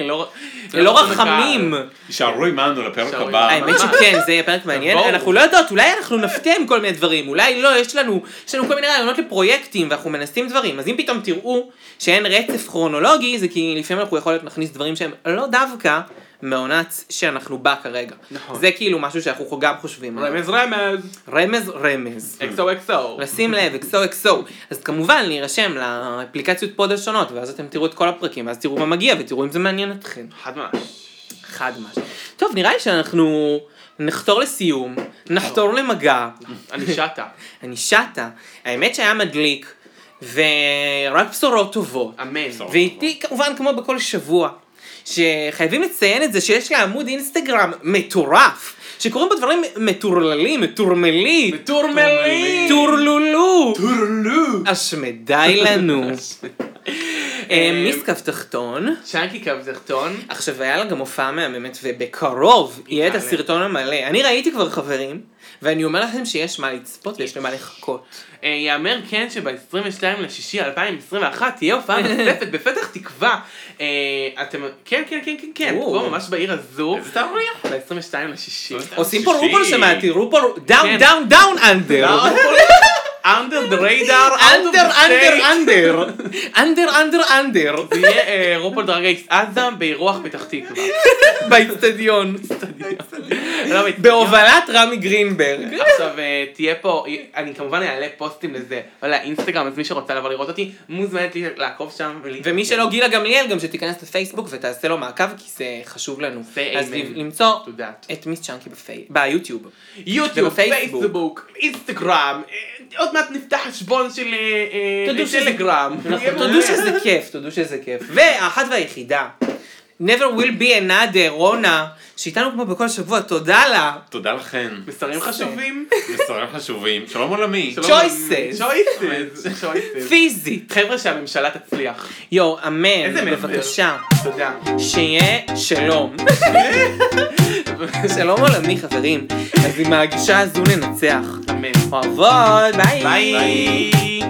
C: לא-
B: ללא רחמים.
D: שערו עמנו לפרק
C: שערו
D: הבא.
C: עמנו.
B: האמת שכן, זה יהיה פרק מעניין,
C: תבואו.
B: אנחנו לא יודעות, אולי אנחנו נפתיע עם כל מיני דברים, אולי לא, יש לנו, יש לנו כל מיני רעיונות לפרויקטים ואנחנו מנסים דברים, אז אם פתאום תראו שאין רצף כרונולוגי, זה כי לפעמים אנחנו יכול להיות נכניס דברים שהם לא דווקא מהעונה שאנחנו בה כרגע.
C: נכון.
B: זה כאילו משהו שאנחנו גם חושבים עליו.
C: רמז רמז.
B: רמז, רמז.
C: אקסו אקסו.
B: לשים לב, אקסו אקסו. אז כמובן להירשם לאפליקציות פוד השונות, ואז אתם תראו את כל הפרקים, ואז תראו מה מגיע ותראו אם זה מעניין אתכם.
C: חד ממש.
B: חד משמעית. טוב, נראה לי שאנחנו נחתור לסיום, נחתור למגע,
C: אני שטה.
B: אני שטה. האמת שהיה מדליק, ורק בשורות טובות.
C: אמן.
D: בסדר.
B: ואיתי כמובן כמו בכל שבוע, שחייבים לציין את זה שיש לה עמוד אינסטגרם מטורף, שקוראים בו דברים מטורללים, מטורמלית,
C: מטורמלית.
B: טורלולו,
C: טורלו.
B: השמדי לנו. אה, מיס קו תחתון.
C: צ'אנקי קו תחתון.
B: עכשיו היה לה גם הופעה מהממת, ובקרוב יהיה את
C: יאללה.
B: הסרטון המלא. אני ראיתי כבר חברים, ואני אומר לכם שיש מה לצפות ויש למה לחכות.
C: אה, יאמר כן שב-22 לשישי 2021 תהיה הופעה נוספת בפתח תקווה. אה, אתם... כן, כן, כן, כן, כן.
B: או.
C: פה ממש בעיר הזו.
D: איזה תאוריה?
C: ב-22 לשישי.
B: עושים פה
D: שישי.
B: רופול שמעתי, רופול דאון
C: כן.
B: דאון דאון אנדר.
C: אנדר דה ריידר,
B: אנדר, אנדר, אנדר, אנדר, אנדר, אנדר,
C: זה יהיה אה, רופול דרגייס אדם באירוח פתח תקווה.
B: באיצטדיון,
C: לא, מצ-
B: בהובלת רמי גרינברג.
C: עכשיו אה, תהיה פה, אני כמובן אעלה פוסטים לזה לאינסטגרם, אז מי שרוצה לבוא לראות אותי, מוזמנת לי לעקוב שם. ול-
B: ומי שלא, גילה גמליאל, גם שתיכנס לפייסבוק ותעשה לו מעקב, כי זה חשוב לנו.
C: זה
B: אז
C: אמן.
B: ל- למצוא
C: תודה.
B: את מיס צ'אנקי בפי- ביוטיוב.
C: יוטיוב,
B: ובפייסבוק.
C: פייסבוק, אינסטגרם, אה, עוד מעט נפתח חשבון של אה, אה,
B: תודו שזה-
C: טלגרם. יהיה מעולה.
B: תודו נכון. שזה כיף, תודו שזה כיף. והאחת והיחידה, never will be another, רונה, שאיתנו כמו בכל שבוע, תודה לה.
D: תודה לכן.
C: מסרים חשובים.
D: מסרים חשובים. שלום עולמי.
C: שלום.
B: Choices.
C: choices. choices.
B: פיזית.
C: חבר'ה שהממשלה תצליח.
B: יואו, אמן,
C: איזה מסר.
B: בבקשה.
C: תודה.
B: שיהיה שלום. שלום עולמי חברים. אז עם הגישה הזו ננצח.
C: אמן.
B: אוהבות, ביי.
C: ביי.